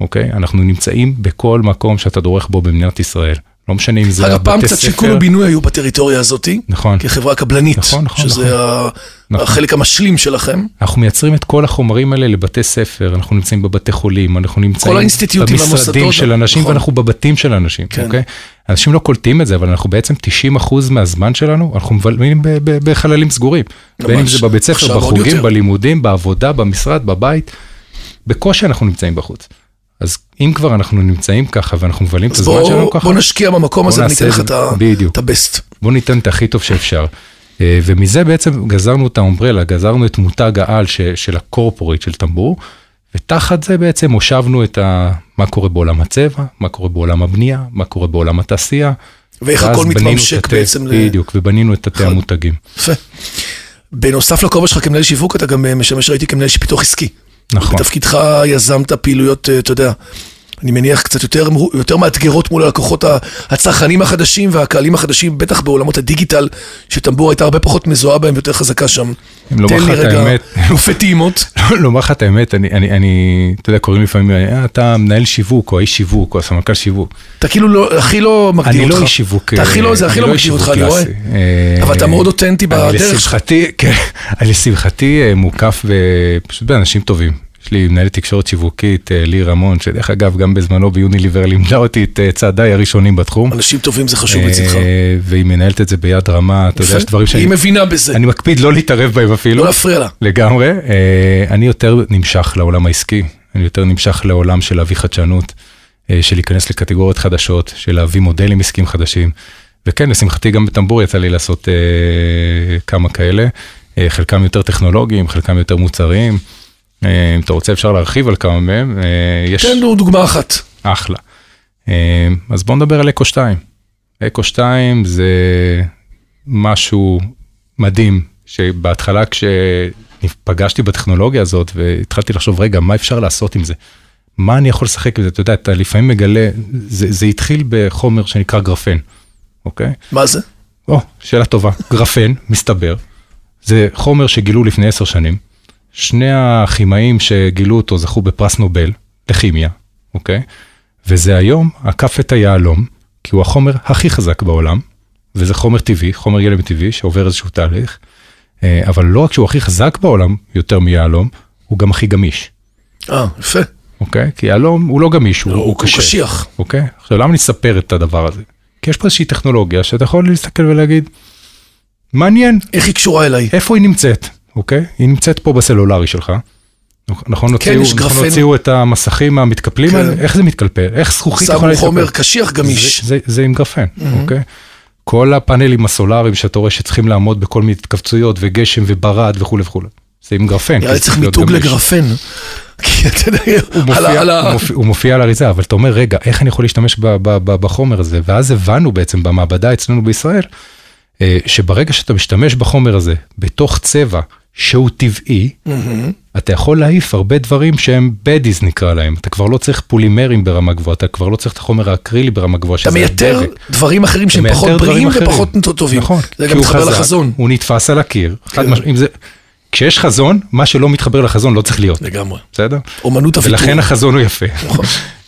Speaker 3: אוקיי? אנחנו נמצאים בכל מקום שאתה דורך בו במדינת ישראל. לא משנה אם זה
Speaker 2: אגב,
Speaker 3: הבתי
Speaker 2: פעם
Speaker 3: ספר.
Speaker 2: קצת שיקום ובינוי היו בטריטוריה הזאתי,
Speaker 3: נכון.
Speaker 2: כחברה קבלנית,
Speaker 3: נכון, נכון,
Speaker 2: שזה ה-
Speaker 3: נכון.
Speaker 2: החלק המשלים שלכם.
Speaker 3: אנחנו מייצרים את כל החומרים האלה לבתי ספר, אנחנו נמצאים בבתי חולים, אנחנו נמצאים
Speaker 2: האינסטיטוטים,
Speaker 3: במשרדים
Speaker 2: המוסדות,
Speaker 3: של אנשים
Speaker 2: נכון.
Speaker 3: ואנחנו בבתים של אנשים,
Speaker 2: כן.
Speaker 3: אוקיי? אנשים לא קולטים את זה, אבל אנחנו בעצם 90% מהזמן שלנו, אנחנו מבלים ב- ב- בחללים סגורים.
Speaker 2: ממש.
Speaker 3: בין אם זה בבית
Speaker 2: עכשיו
Speaker 3: ספר,
Speaker 2: עוד
Speaker 3: בחוגים,
Speaker 2: יותר.
Speaker 3: בלימודים, בעבודה, במשרד, בבית, בקושי אנחנו נמצאים בחוץ. אז אם כבר אנחנו נמצאים ככה ואנחנו מבלים את
Speaker 2: אז
Speaker 3: הזמן שלנו
Speaker 2: בואו
Speaker 3: ככה,
Speaker 2: בואו נשקיע במקום הזה
Speaker 3: נעשה
Speaker 2: וניתן לך
Speaker 3: את
Speaker 2: את
Speaker 3: זה.
Speaker 2: ה-
Speaker 3: בדיוק.
Speaker 2: את הבסט.
Speaker 3: בואו ניתן את הכי טוב שאפשר. אה, ומזה בעצם גזרנו את האומברלה, גזרנו את מותג העל ש- של הקורפורט של טמבור, ותחת זה בעצם הושבנו את ה... מה קורה בעולם הצבע, מה קורה בעולם הבנייה, מה קורה בעולם התעשייה.
Speaker 2: ואיך
Speaker 3: ואז
Speaker 2: הכל
Speaker 3: בנינו את
Speaker 2: מתממשק
Speaker 3: התה-
Speaker 2: בעצם ל- נכון.
Speaker 3: בדיוק, ובנינו את תתי המותגים. *laughs*
Speaker 2: יפה. בנוסף לכובע שלך כמנהל שיווק, אתה גם אה, משמש, ראיתי, כמנהל פיתוח עסקי.
Speaker 3: נכון.
Speaker 2: בתפקידך יזמת פעילויות, אה, אתה יודע, אני מניח קצת יותר, מרו- יותר מאתגרות מול הלקוחות ה- הצרכנים החדשים והקהלים החדשים, בטח בעולמות הדיגיטל, שטמבור הייתה הרבה פחות מזוהה בהם, יותר חזקה שם.
Speaker 3: אם לומר
Speaker 2: תן לי
Speaker 3: לך את
Speaker 2: רגע
Speaker 3: לא האמת.
Speaker 2: אלופי טעימות.
Speaker 3: לומר לך את האמת, אני, אני, אני, אתה יודע, קוראים לי לפעמים, "אה, אתה מנהל שיווק, או האיש שיווק, או הסמנכ"ל שיווק.
Speaker 2: אתה כאילו לא, הכי לא מגדיר
Speaker 3: אני
Speaker 2: אותך.
Speaker 3: לא איש שיווק.
Speaker 2: אתה הכי לא, זה
Speaker 3: אני
Speaker 2: הכי לא
Speaker 3: איש
Speaker 2: מגדיר אותך,
Speaker 3: שיווק
Speaker 2: אני רואה.
Speaker 3: קלאסי. אה,
Speaker 2: אבל אתה מאוד אותנטי
Speaker 3: אני
Speaker 2: בדרך שלך.
Speaker 3: לשמחתי, כן, *laughs* אני לשמחתי אה, מוקף ב- פשוט באנשים טובים. יש לי מנהלת תקשורת שיווקית, אה, לי רמון, שדרך אגב, גם בזמנו ביוניליבר לימדה אותי את אה, צעדיי הראשונים בתחום.
Speaker 2: אנשים טובים זה חשוב לצדך.
Speaker 3: אה, והיא מנהלת את זה ביד רמה, אתה יודע,
Speaker 2: יפה.
Speaker 3: יש דברים שאני
Speaker 2: היא מבינה בזה,
Speaker 3: אני מקפיד לא להתערב בהם אפילו.
Speaker 2: לא להפריע לה.
Speaker 3: לגמרי. אה, אני יותר נמשך לעולם העסקי, אני יותר נמשך לעולם של להביא חדשנות, אה, של להיכנס לקטגוריות חדשות, של להביא מודלים עסקיים חדשים. וכן, לשמחתי גם בטמבור יצא לי לעשות אה, כמה כאלה, אה, חלקם יותר טכנולוגיים, חלקם יותר מוצריים. אה, אם אתה רוצה אפשר להרחיב על כמה מהם, אה, יש
Speaker 2: תן לנו דוגמה אחת.
Speaker 3: אחלה. אה, אז בואו נדבר על אקו 2. אקו 2 זה משהו מדהים, שבהתחלה כשפגשתי בטכנולוגיה הזאת והתחלתי לחשוב, רגע, מה אפשר לעשות עם זה? מה אני יכול לשחק עם זה? אתה יודע, אתה לפעמים מגלה, זה, זה התחיל בחומר שנקרא גרפן, אוקיי?
Speaker 2: מה זה?
Speaker 3: או, שאלה טובה. גרפן, מסתבר, זה חומר שגילו לפני עשר שנים. שני הכימאים שגילו אותו זכו בפרס נובל לכימיה, אוקיי? וזה היום עקף את היהלום, כי הוא החומר הכי חזק בעולם, וזה חומר טבעי, חומר גלם טבעי שעובר איזשהו תהליך, אה, אבל לא רק שהוא הכי חזק בעולם, יותר מיהלום, הוא גם הכי גמיש,
Speaker 2: אה, יפה.
Speaker 3: אוקיי? כי יהלום הוא לא גמיש, הוא, הוא קשה.
Speaker 2: קשיח.
Speaker 3: אוקיי? עכשיו, למה אני אספר את הדבר הזה? כי יש פה איזושהי טכנולוגיה שאתה יכול להסתכל ולהגיד, מעניין,
Speaker 2: איך היא קשורה אליי?
Speaker 3: איפה היא נמצאת, אוקיי? היא נמצאת פה בסלולרי שלך. נכון, הוציאו,
Speaker 2: כן, יש
Speaker 3: נכון,
Speaker 2: גרפן.
Speaker 3: הוציאו את המסכים המתקפלים
Speaker 2: כן.
Speaker 3: האלה, איך זה מתקלפל? איך זכוכית יכולה
Speaker 2: שמו
Speaker 3: להתקפל?
Speaker 2: חומר קשיח גמיש.
Speaker 3: זה, זה, זה עם גרפן,
Speaker 2: Mm-hmm.
Speaker 3: אוקיי? כל הפאנלים הסולאריים שאתה רואה שצריכים לעמוד בכל מיני התכווצויות וגשם וברד וכולי וכולי. זה עם גרפן. כי
Speaker 2: נראה לי
Speaker 3: זה
Speaker 2: צריך
Speaker 3: להיות
Speaker 2: מיתוג
Speaker 3: גמיש.
Speaker 2: לגרפן. *laughs* כי אתה יודע,
Speaker 3: הוא
Speaker 2: על
Speaker 3: מופיע,
Speaker 2: ה- על ה-
Speaker 3: הוא, מופיע, הוא מופיע על האריזה, אבל אתה אומר, רגע, איך אני יכול להשתמש ב, ב, ב, בחומר הזה? ואז הבנו בעצם במעבדה אצלנו בישראל, אה, שברגע שאתה משתמש בחומר הזה, בתוך צבע שהוא טבעי, אתה יכול להעיף הרבה דברים שהם בדיז נקרא להם. אתה כבר לא צריך פולימרים ברמה גבוהה, אתה כבר לא צריך את החומר האקרילי ברמה גבוהה,
Speaker 2: אתה
Speaker 3: שזה
Speaker 2: מייתר
Speaker 3: הדבק.
Speaker 2: דברים אחרים שהם
Speaker 3: אתה
Speaker 2: פחות
Speaker 3: מאתר דברים
Speaker 2: בריאים
Speaker 3: אחרים.
Speaker 2: ופחות טובים.
Speaker 3: נכון.
Speaker 2: זה
Speaker 3: כי
Speaker 2: גם
Speaker 3: הוא
Speaker 2: מתחבר
Speaker 3: חזק,
Speaker 2: לחזון. כן.
Speaker 3: הוא נתפס על הקיר. חד משמעית, אם זה- כשיש חזון, מה שלא מתחבר לחזון לא צריך להיות,
Speaker 2: לגמרי.
Speaker 3: בסדר?
Speaker 2: אומנות הוויתור.
Speaker 3: ולכן החזון הוא יפה,
Speaker 2: נכון.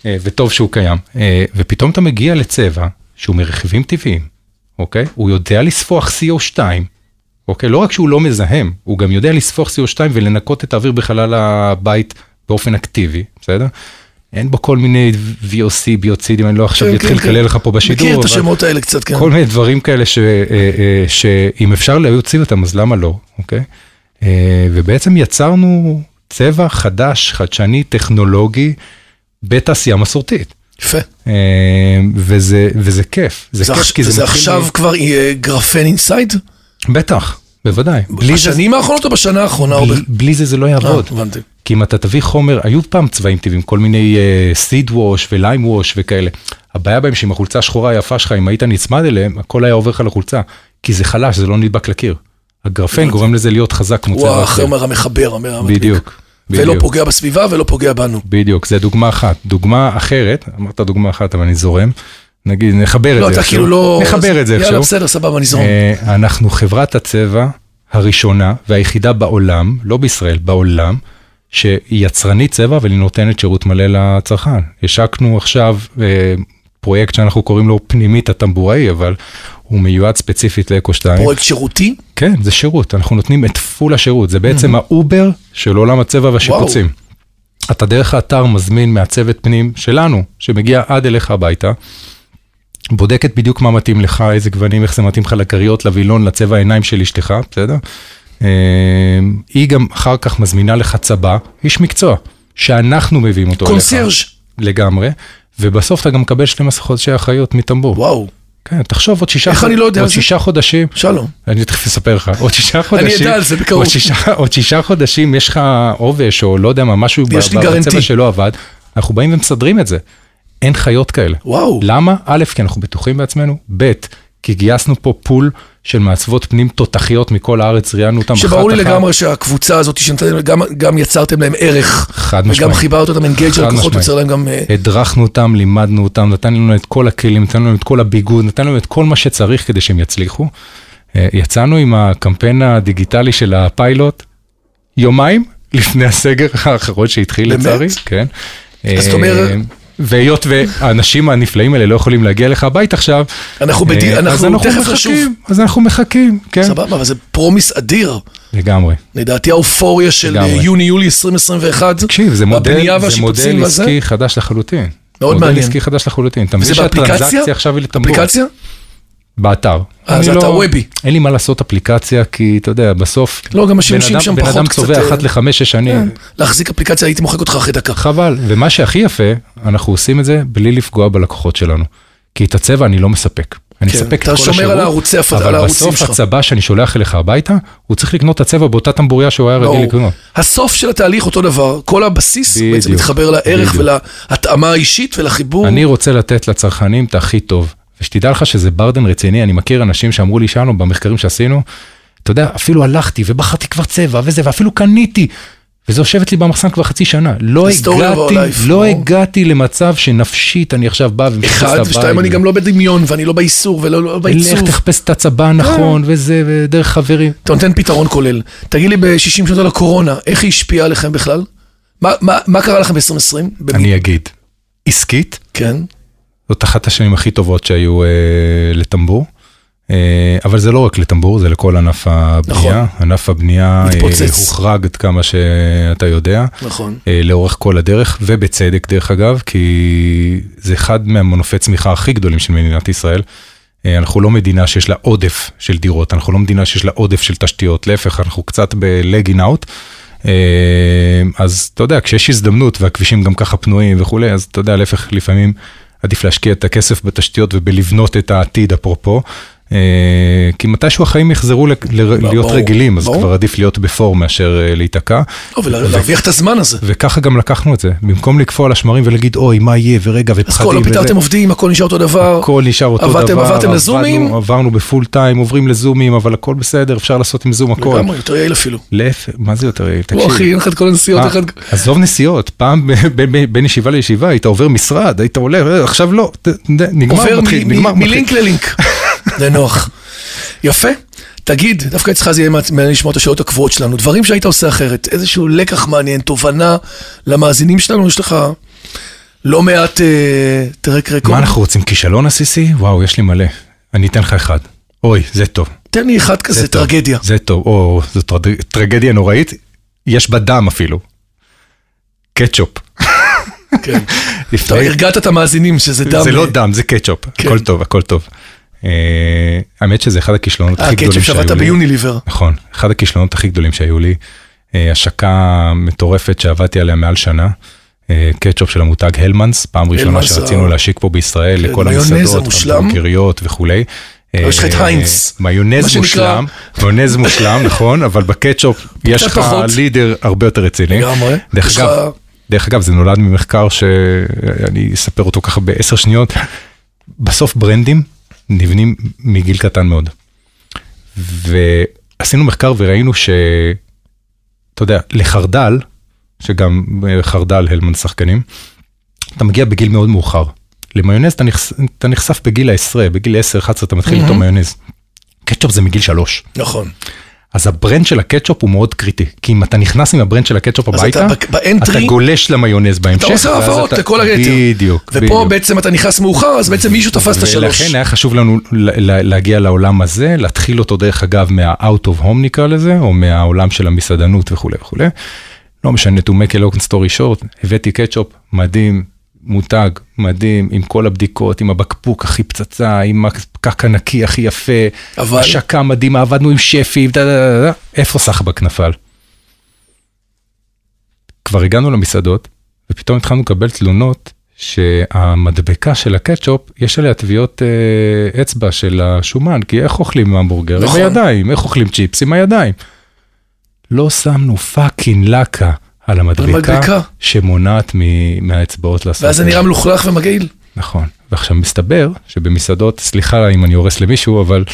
Speaker 3: אה, וטוב שהוא קיים. אה, ופתאום אתה מגיע לצבע שהוא מרכיבים טבעיים, אוקיי? הוא יודע לספוח CO2, אוקיי? לא רק שהוא לא מזהם, הוא גם יודע לספוח CO2 ולנקות את האוויר בחלל הבית באופן אקטיבי, בסדר? אין בו כל מיני VOC, ביוצידים, אני לא עכשיו
Speaker 2: כן,
Speaker 3: אתחיל
Speaker 2: כן,
Speaker 3: לקלל
Speaker 2: כן.
Speaker 3: לך פה בשידור.
Speaker 2: מכיר את
Speaker 3: אבל-
Speaker 2: השמות האלה קצת, כן.
Speaker 3: כל מיני דברים כאלה ש, אה, אה, שאם אפשר להוציא אותם אז למה לא, אוקיי? אה, ובעצם יצרנו צבע חדש, חדשני, טכנולוגי, בתעשייה מסורתית.
Speaker 2: יפה.
Speaker 3: אה, וזה, וזה כיף, זה,
Speaker 2: זה
Speaker 3: כיף
Speaker 2: עכש-
Speaker 3: כי זה,
Speaker 2: זה
Speaker 3: מתחיל-
Speaker 2: עכשיו כבר יהיה גרפן אינסייד?
Speaker 3: בטח, בוודאי. בלי זה,
Speaker 2: בשנים האחרונות או בשנה האחרונה? או ב-
Speaker 3: בלי, בלי זה זה לא יעבוד.
Speaker 2: אה, הבנתי.
Speaker 3: כי אם אתה תביא חומר, היו פעם צבעים טבעיים, כל מיני סיד ווש וליים ווש וכאלה. הבעיה בהם שעם החולצה השחורה היפה שלך, אם היית נצמד אליהם, הכל היה עובר לך לחולצה. כי זה חלש, זה לא נדבק לקיר. הגרפן גורם לזה להיות חזק כמו
Speaker 2: הוא
Speaker 3: צבע אחר.
Speaker 2: החומר המחבר, המ- המדביק.
Speaker 3: בדיוק,
Speaker 2: ולא
Speaker 3: בדיוק,
Speaker 2: פוגע בסביבה ולא פוגע בנו.
Speaker 3: בדיוק, זה דוגמה אחת. דוגמה אחרת, אמרת דוגמה אחת, אבל אני זורם. נגיד, נחבר את זה
Speaker 2: לא, אתה
Speaker 3: איכשהו. אה,
Speaker 2: כאילו לא...
Speaker 3: נחבר את זה
Speaker 2: יאללה,
Speaker 3: איכשהו.
Speaker 2: בסדר, סבבה, נזרום.
Speaker 3: אה, אנחנו חברת הצבע הראשונה והיחידה בעולם, לא בישראל, בעולם, שהיא יצרנית צבע אבל היא נותנת שירות מלא לצרכן. השקנו עכשיו אה, פרויקט שאנחנו קוראים לו פנימית הטמבוראי, אבל הוא מיועד ספציפית לאקו 2.
Speaker 2: פרויקט שירותי?
Speaker 3: כן, זה שירות, אנחנו נותנים את פול השירות, זה בעצם האובר של עולם הצבע והשיפוצים. אתה דרך האתר מזמין מעצבת פנים שלנו, שמגיע עד אליך הביתה, בודקת בדיוק מה מתאים לך, איזה גוונים, איך זה מתאים לך לכריות, לווילון, לצבע העיניים של אשתך, בסדר? אה, היא גם אחר כך מזמינה לך צבע, איש מקצוע, שאנחנו מביאים אותו אליך.
Speaker 2: קונסיירג'.
Speaker 3: לגמרי, ובסוף אתה גם מקבל 12 חודשי אחריות מטמבור.
Speaker 2: וואו,
Speaker 3: כן, תחשוב, עוד שישה,
Speaker 2: איך אני לא יודע
Speaker 3: עוד
Speaker 2: זה?
Speaker 3: שישה חודשים,
Speaker 2: שלום.
Speaker 3: אני תכף אספר לך, עוד שישה חודשים,
Speaker 2: אדע על זה בקרוב.
Speaker 3: עוד שישה, עוד שישה חודשים יש לך עובש, או לא יודע מה, משהו
Speaker 2: יש לי
Speaker 3: ב-
Speaker 2: גרנטי.
Speaker 3: בצבע שלא עבד, אנחנו באים ומסדרים את זה. אין חיות כאלה.
Speaker 2: וואו.
Speaker 3: למה? א', כי אנחנו בטוחים בעצמנו, ב', כי גייסנו פה פול של מעצבות פנים תותחיות מכל הארץ, ראיינו אותם אחת-אחת.
Speaker 2: שברור לי לגמרי שהקבוצה הזאת שנתתם להם, גם, גם יצרתם להם ערך.
Speaker 3: חד
Speaker 2: וגם
Speaker 3: משמעית.
Speaker 2: חיברת אותם אנגייג'
Speaker 3: חד
Speaker 2: ללקוחות,
Speaker 3: משמעית.
Speaker 2: יוצר להם גם... אה,
Speaker 3: הדרכנו אותם, לימדנו אותם, נתנו לנו את כל הכלים, נתנו לנו את כל הביגוד, נתנו לנו את כל מה שצריך כדי שהם יצליחו. אה, יצאנו עם הקמפיין הדיגיטלי של הפיילוט יומיים לפני הסגר האחרון שהתחיל
Speaker 2: באמת?
Speaker 3: לצערי, כן.
Speaker 2: אז זאת אומרת-
Speaker 3: אה, והיות והאנשים הנפלאים האלה לא יכולים להגיע לך הבית עכשיו,
Speaker 2: אנחנו בדי-
Speaker 3: אה, אז
Speaker 2: אנחנו תכף חשוב.
Speaker 3: מחכים, אז אנחנו מחכים, כן,
Speaker 2: סבבה, אבל זה פרומיס אדיר.
Speaker 3: לגמרי.
Speaker 2: לדעתי האופוריה של
Speaker 3: לגמרי.
Speaker 2: אה, יוני-יולי 2021.
Speaker 3: תקשיב, זה
Speaker 2: הבנייה
Speaker 3: מודל, זה
Speaker 2: והשיפוצים
Speaker 3: מודל
Speaker 2: וזה.
Speaker 3: עסקי חדש לחלוטין.
Speaker 2: מאוד מעניין.
Speaker 3: מודל עסקי חדש לחלוטין. אתה
Speaker 2: וזה
Speaker 3: מבין
Speaker 2: באפליקציה?
Speaker 3: שהטרנזקציה עכשיו היא לטמבור.
Speaker 2: אפליקציה?
Speaker 3: באתר.
Speaker 2: אה, זה
Speaker 3: אני לא-
Speaker 2: אתר וובי.
Speaker 3: אין לי מה לעשות אפליקציה, כי אתה יודע, בסוף...
Speaker 2: לא, גם
Speaker 3: בן
Speaker 2: השימושים
Speaker 3: אדם-
Speaker 2: שם
Speaker 3: בן
Speaker 2: פחות
Speaker 3: אדם
Speaker 2: קצת...
Speaker 3: צובע
Speaker 2: אה,
Speaker 3: אחת לחמש, שש שנים.
Speaker 2: להחזיק אפליקציה, הייתי מוחק אותך אחרי דקה.
Speaker 3: חבל. ומה שהכי יפה, אנחנו עושים את זה בלי לפגוע בלקוחות שלנו. כי את הצבע אני לא מספק. אני
Speaker 2: כן,
Speaker 3: מספק את
Speaker 2: אתה
Speaker 3: כל
Speaker 2: שומר
Speaker 3: השירות,
Speaker 2: על הערוצי הפ- על
Speaker 3: אבל
Speaker 2: הערוצים
Speaker 3: בסוף
Speaker 2: שלך.
Speaker 3: הצבע שאני שולח אליך הביתה, הוא צריך לקנות את הצבע באותה טמבוריה שהוא היה רגיל
Speaker 2: ברור.
Speaker 3: לקנות.
Speaker 2: לא. הסוף של התהליך אותו דבר, כל הבסיס
Speaker 3: בדיוק,
Speaker 2: בעצם מתחבר לערך
Speaker 3: בדיוק.
Speaker 2: ולהתאמה האישית ולחיבור.
Speaker 3: אני רוצה לתת לצרכנים את הכי טוב. ושתדע לך שזה ברדן רציני, אני מכיר אנשים שאמרו לי שלנו במחקרים שעשינו, אתה יודע, אפילו הלכתי ובחרתי כבר צבע וזה, ואפילו קניתי. וזה יושבת לי במחסן כבר חצי שנה. לא
Speaker 2: היסטוריה
Speaker 3: הגעתי,
Speaker 2: והלייף,
Speaker 3: לא
Speaker 2: ברור.
Speaker 3: הגעתי למצב שנפשית אני עכשיו בא ומחפש את
Speaker 2: אחד,
Speaker 3: הבית.
Speaker 2: ושתיים, אני גם לא בדמיון, ואני לא באיסור ולא לא
Speaker 3: לך
Speaker 2: בעיצוב. כן.
Speaker 3: תחפש את הצבא הנכון וזה, ודרך חברים.
Speaker 2: אתה נותן פתרון כולל. תגיד לי, ב-60 שנות על הקורונה, איך היא השפיעה עליכם בכלל? מה- מה מה קרה לכם ב-2020?
Speaker 3: אני אגיד, עסקית,
Speaker 2: כן.
Speaker 3: זאת אחת השנים הכי טובות שהיו אה, לטמבור. אה, אבל זה לא רק לטמבור, זה לכל ענף הבנייה.
Speaker 2: נכון.
Speaker 3: ענף הבנייה אה,
Speaker 2: מתפוצץ.
Speaker 3: הוחרג עד כמה שאתה יודע,
Speaker 2: נכון.
Speaker 3: אה, לאורך כל הדרך, ובצדק דרך אגב, כי זה אחד מהמנופי צמיחה הכי גדולים של מדינת ישראל. אה, אנחנו לא מדינה שיש לה עודף של דירות, אנחנו לא מדינה שיש לה עודף של תשתיות, להפך, אנחנו קצת ב-legging out. אה, אז אתה יודע, כשיש הזדמנות והכבישים גם ככה פנויים וכולי, אז אתה יודע, להפך, לפעמים עדיף להשקיע את הכסף בתשתיות ובלבנות את העתיד, אפרופו. אה, כי מתישהו החיים יחזרו ל- ל- להיות
Speaker 2: ברור,
Speaker 3: רגילים, אז
Speaker 2: ברור.
Speaker 3: כבר עדיף להיות בפור מאשר אה, להיתקע.
Speaker 2: לא, ולהרוויח את הזמן הזה.
Speaker 3: וככה גם לקחנו את זה, במקום לקפוא על השמרים ולהגיד, אוי, מה יהיה, ורגע,
Speaker 2: אז
Speaker 3: ופחדים,
Speaker 2: כל, לא פיטרתם עובדים, הכל נשאר אותו דבר.
Speaker 3: הכל נשאר אותו
Speaker 2: עברתם-
Speaker 3: דבר.
Speaker 2: עברתם
Speaker 3: עבדנו-
Speaker 2: לזומים?
Speaker 3: עברנו בפול טיים, עוברים לזומים, אבל הכל בסדר, אפשר לעשות עם זום הכל.
Speaker 2: לגמרי, יותר יעיל אפילו.
Speaker 3: להפך, מה זה יותר, יעיל? תקשיב.
Speaker 2: וואו, אחי, אין לך את כל הנסיעות,
Speaker 3: אה,
Speaker 2: אחד...
Speaker 3: עזוב נסיעות, פעם ב- ב- ב- בין ישיבה לישיבה היית עובר משרד, היית הולך, אה, עכשיו לא, ת- ת- נגמר,
Speaker 2: עובר מ-
Speaker 3: מתחיל,
Speaker 2: מ-
Speaker 3: נגמר, מתחיל.
Speaker 2: מלינק ללינק. *laughs* זה נוח. יפה. תגיד, דווקא אצלך זה יהיה מעט- מעניין לשמוע את השאלות הקבועות שלנו. דברים שהיית עושה אחרת, איזשהו לקח מעניין, תובנה למאזינים שלנו, יש לך לא מעט אה, טרק
Speaker 3: מה
Speaker 2: רקורד.
Speaker 3: אנחנו רוצים, כישלון עסיסי? וואו, יש לי מלא. אני אתן לך אחד. אוי, זה טוב.
Speaker 2: תן לי אחד כזה,
Speaker 3: טוב.
Speaker 2: טרגדיה.
Speaker 3: זה טוב, או, זו טרד- טרגדיה נוראית, יש בה דם אפילו. קטשופ.
Speaker 2: כן. אתה
Speaker 3: לפני-
Speaker 2: הרגעת את המאזינים שזה דם. אה?
Speaker 3: זה לא דם, זה קטשופ,
Speaker 2: כן.
Speaker 3: הכל טוב, הכל טוב. אה, האמת שזה אחד הכישלונות
Speaker 2: אה,
Speaker 3: הכי
Speaker 2: קטשופ
Speaker 3: גדולים שהיו לי.
Speaker 2: שעבדת ביוניליבר.
Speaker 3: נכון, אחד הכישלונות הכי גדולים שהיו לי. אה, השקה מטורפת שעבדתי עליה מעל שנה. אה, קטשופ של המותג הלמנס, פעם ראשונה
Speaker 2: הלמנס,
Speaker 3: שרצינו
Speaker 2: אה,
Speaker 3: להשיק פה בישראל,
Speaker 2: כן,
Speaker 3: לכל
Speaker 2: מיונז
Speaker 3: המסעדות,
Speaker 2: המושלם.
Speaker 3: המבורגריות וכולי.
Speaker 2: אבל יש לך את
Speaker 3: אה,
Speaker 2: היינץ. מה
Speaker 3: מיונז
Speaker 2: שנקרא.
Speaker 3: מושלם, מיונז מושלם, נכון, אבל בקטשופ יש לך
Speaker 2: פחות.
Speaker 3: לידר הרבה יותר רציני.
Speaker 2: לגמרי. יש
Speaker 3: דרך
Speaker 2: לך-
Speaker 3: אגב, דרך אגב, זה נולד ממחקר שאני אספר אותו ככה בעשר שניות. בסוף ברנדים נבנים מגיל קטן מאוד. ועשינו מחקר וראינו ש... אתה יודע, לחרדל, שגם אה, חרדל הלמן שחקנים, אתה מגיע בגיל מאוד מאוחר. למיונז אתה, נחש... אתה נחשף בגיל העשרה, בגיל 10-11 אתה מתחיל איתו מיונז. קטשופ זה מגיל שלוש.
Speaker 2: נכון.
Speaker 3: אז הברנד של הקטשופ הוא מאוד קריטי, כי אם אתה נכנס עם הברנד של הקטשופ
Speaker 2: אז
Speaker 3: הביתה,
Speaker 2: אתה ב- באנטרי-
Speaker 3: אתה גולש למיונז בהמשך.
Speaker 2: אתה עושה
Speaker 3: ואז
Speaker 2: העברות
Speaker 3: אתה-
Speaker 2: לכל היתר.
Speaker 3: בדיוק,
Speaker 2: ופה
Speaker 3: בדיוק.
Speaker 2: בעצם אתה נכנס מאוחר, אז בעצם מישהו תפס את השלוש.
Speaker 3: ולכן היה חשוב לנו ל- ל- להגיע לעולם הזה, להתחיל אותו דרך אגב מה-out of home נקרא לזה, או מהעולם של המסעדנות וכולי וכולי. לא משנה, to make a long story short, הבאתי קטשופ מדהים, מותג מדהים, עם כל הבדיקות, עם הבקבוק הכי פצצה, עם הקק הנקי הכי יפה,
Speaker 2: אבל-
Speaker 3: השקה מדהימה, עבדנו עם שפי, דה, דה, דה, דה. איפה סחבק נפל? כבר הגענו למסעדות, ופתאום התחלנו לקבל תלונות שהמדבקה של הקטשופ, יש עליה טביעות אה, אצבע של השומן, כי איך אוכלים המבורגר?
Speaker 2: נכון.
Speaker 3: עם הידיים, איך אוכלים צ'יפס? עם הידיים. לא שמנו פאקינג לקה על המדבקה
Speaker 2: המדבקה.
Speaker 3: שמונעת מ- מהאצבעות לעשות.
Speaker 2: ואז זה
Speaker 3: את
Speaker 2: נראה מלוכלך ומגעיל.
Speaker 3: נכון. ועכשיו מסתבר שבמסעדות, סליחה אם אני הורס למישהו, אבל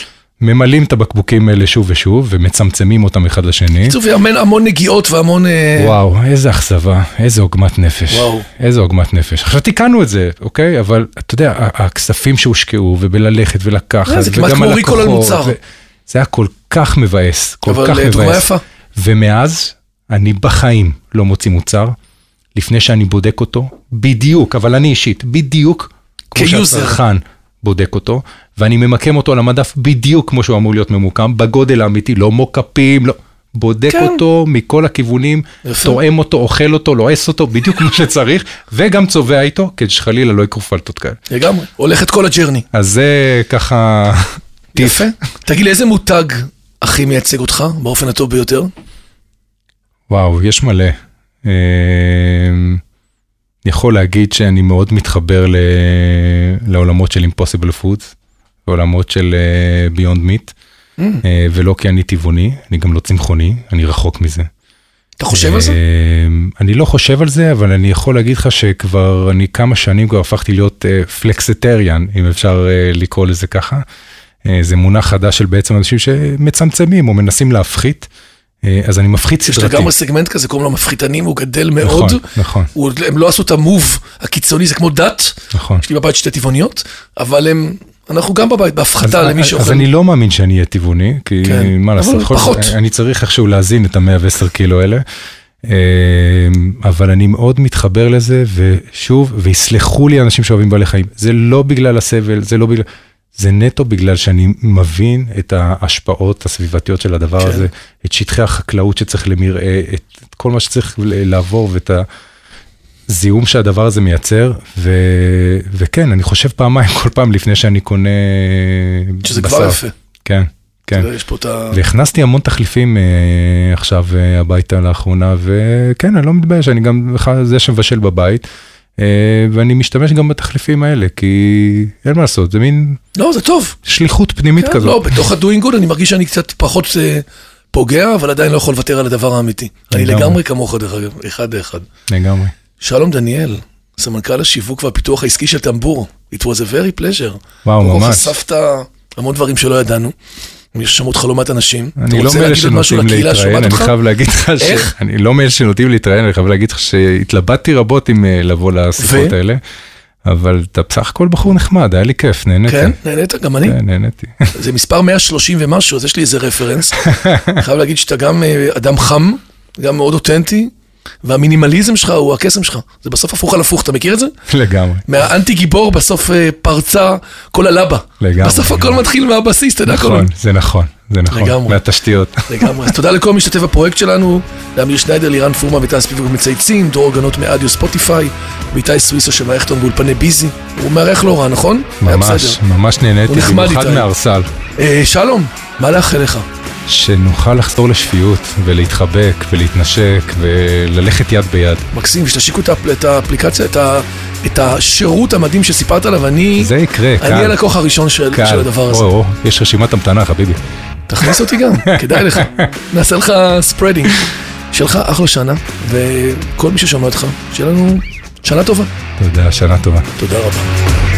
Speaker 3: ממלאים את הבקבוקים האלה שוב ושוב, ומצמצמים אותם אחד לשני.
Speaker 2: בקיצור, והמון המון נגיעות והמון... אה,
Speaker 3: וואו, איזה אכזבה, איזה עוגמת נפש.
Speaker 2: וואו.
Speaker 3: איזה עוגמת נפש. עכשיו תיקנו את זה, אוקיי? אבל אתה יודע, ה- הכספים שהושקעו, ובללכת ולקחת,
Speaker 2: אה, זה כמעט
Speaker 3: וגם
Speaker 2: כמו ריקול על
Speaker 3: הלקוחות,
Speaker 2: מוצר.
Speaker 3: ו- זה היה כל כך מבאס, כל
Speaker 2: אבל,
Speaker 3: כך
Speaker 2: אה,
Speaker 3: מבאס.
Speaker 2: דוגמה יפה.
Speaker 3: ומאז, אני בחיים לא מוציא מוצר, לפני שאני בודק אותו, בדיוק, אבל אני אישית, בדיוק, כמו
Speaker 2: כיוזר.
Speaker 3: שהצרכן בודק אותו, ואני ממקם אותו על המדף בדיוק כמו שהוא אמור להיות ממוקם, בגודל האמיתי, לא מוקפים, לא... בודק
Speaker 2: כן.
Speaker 3: אותו מכל הכיוונים,
Speaker 2: יפה.
Speaker 3: תואם אותו, אוכל אותו, לועס אותו, בדיוק כמו שצריך, וגם צובע איתו, כדי שחלילה לא יקרו פלטות כאלה.
Speaker 2: לגמרי. הולך את כל הג'רני.
Speaker 3: אז זה ככה... טיפ.
Speaker 2: יפה. תגיד לי, איזה מותג הכי מייצג אותך באופן הטוב ביותר?
Speaker 3: וואו, יש מלא. אה, אני יכול להגיד שאני מאוד מתחבר ל... לעולמות של אימפוסיבל פודס, לעולמות של אה, ביונד מיט, אה, ולא כי אני טבעוני, אני גם לא צמחוני, אני רחוק מזה.
Speaker 2: אתה חושב על זה?
Speaker 3: אה, אני לא חושב על זה, אבל אני יכול להגיד לך שכבר, אני כמה שנים כבר הפכתי להיות אה, פלקסטריאן, אם אפשר אה, לקרוא לזה ככה. אה, זה מונח חדש של בעצם אנשים שמצמצמים או מנסים להפחית. אה, אז אני מפחית
Speaker 2: יש
Speaker 3: סדרתי.
Speaker 2: לגמרי סגמנט כזה, קוראים לו מפחיתנים, הוא גדל מאוד.
Speaker 3: נכון, נכון.
Speaker 2: הוא עוד- הם לא עשו את המוב הקיצוני, זה כמו דת.
Speaker 3: נכון.
Speaker 2: יש לי בבית שתי טבעוניות, אבל הם, אנחנו גם בבית בהפחתה למי
Speaker 3: אז, אז
Speaker 2: שאוכל.
Speaker 3: אני לא מאמין שאני אהיה טבעוני, כי
Speaker 2: כן,
Speaker 3: מה
Speaker 2: אבל
Speaker 3: לעשות, בכל
Speaker 2: פחות.
Speaker 3: זאת, אני צריך איכשהו להזין את ה-110 קילו האלה. אה, אבל אני מאוד מתחבר לזה, ושוב, ויסלחו לי אנשים שאוהבים בעלי חיים, זה לא בגלל הסבל, זה לא בגלל... זה נטו בגלל שאני מבין את ההשפעות הסביבתיות של הדבר
Speaker 2: כן.
Speaker 3: כן. הזה, את שטחי החקלאות שצריך למרעה, את, את כל מה שצריך ל- לעבור ואת ה... זיהום שהדבר הזה מייצר, ו... וכן, אני חושב פעמיים כל פעם לפני שאני קונה בשר.
Speaker 2: שזה כבר יפה.
Speaker 3: כן, כן.
Speaker 2: יש פה את ה...
Speaker 3: והכנסתי המון תחליפים אה, עכשיו אה, הביתה לאחרונה, וכן, אני לא מתבייש, אני גם בכלל זה שמבשל בבית, אה, ואני משתמש גם בתחליפים האלה, כי אין מה לעשות, זה מין
Speaker 2: לא, זה טוב.
Speaker 3: שליחות פנימית
Speaker 2: כן, לא,
Speaker 3: כזאת.
Speaker 2: בתוך ה-doing good אני מרגיש שאני קצת פחות אה, פוגע, אבל עדיין לא יכול לוותר על הדבר האמיתי. אני
Speaker 3: לגמרי.
Speaker 2: לגמרי כמוך, דרך אגב, אחד לאחד.
Speaker 3: לגמרי.
Speaker 2: שלום דניאל, סמנכ"ל השיווק והפיתוח העסקי של טמבור. It was a very pleasure.
Speaker 3: וואו,
Speaker 2: קודם כל
Speaker 3: ממש.
Speaker 2: חשפת המון דברים שלא ידענו. נרשמו אותך לא מעט אנשים. אתה
Speaker 3: אני לא
Speaker 2: רוצה
Speaker 3: מאלה
Speaker 2: להגיד עוד משהו
Speaker 3: שנוטים
Speaker 2: לקהילה
Speaker 3: להתראיין,
Speaker 2: שומעת
Speaker 3: אני
Speaker 2: אותך?
Speaker 3: חייב להגיד לך ש...
Speaker 2: איך?
Speaker 3: אני לא מאלה שנוטים להתראיין, אני חייב להגיד לך שהתלבטתי רבות עם אה, לבוא לשיחות
Speaker 2: ו?
Speaker 3: האלה, אבל אתה בסך הכל בחור נחמד, היה לי כיף, נהניתי.
Speaker 2: כן, נהנית? גם אני.
Speaker 3: כן, נהניתי. *laughs*
Speaker 2: זה מספר 130 ומשהו, אז יש לי איזה רפרנס. אני חייב להגיד שאתה גם אה, אדם חם, גם מאוד אותנטי, והמינימליזם שלך הוא הקסם שלך. זה בסוף הפוך על הפוך, אתה מכיר את זה?
Speaker 3: לגמרי.
Speaker 2: מהאנטי גיבור בסוף אה, פרצה כל הלבה.
Speaker 3: לגמרי.
Speaker 2: בסוף הכל מתחיל מהבסיס, אתה יודע כל
Speaker 3: נכון, זה נכון, זה
Speaker 2: לגמרי.
Speaker 3: נכון, מהתשתיות.
Speaker 2: לגמרי. אז תודה לכל מי שהשתתף בפרויקט שלנו, לאמיר שניידר, לירן פורמה וטל ספיבוק מצייצים, דרור גנות מאדיו ספוטיפיי, ואיתי סוויסו של מערכת באולפני ביזי. הוא מארח לא רע, נכון? *laughs* היה
Speaker 3: ממש,
Speaker 2: בסדר.
Speaker 3: ממש נהניתי,
Speaker 2: הוא נחמד
Speaker 3: במיוחד
Speaker 2: איתי.
Speaker 3: מהארסל.
Speaker 2: אה, שלום, מה לאחל לך?
Speaker 3: שנוכל לחזור לשפיות ולהתחבק ולהתנשק וללכת יד ביד.
Speaker 2: מקסים, שתשיקו את האפל- את האפליקציה, את ה- את השירות המדהים שסיפרת עליו, אני...
Speaker 3: זה יקרה, קל.
Speaker 2: אני הלקוח הראשון של
Speaker 3: קל.
Speaker 2: של הדבר הזה.
Speaker 3: או, או, יש רשימת המתנה, חביבי.
Speaker 2: תכניס אותי
Speaker 3: *laughs*
Speaker 2: גם, כדאי לך. נעשה לך ספרדינג. שיהיה לך אחלה שנה, וכל מי ששמע אותך, שיהיה לנו שנה טובה.
Speaker 3: תודה, שנה טובה.
Speaker 2: תודה רבה.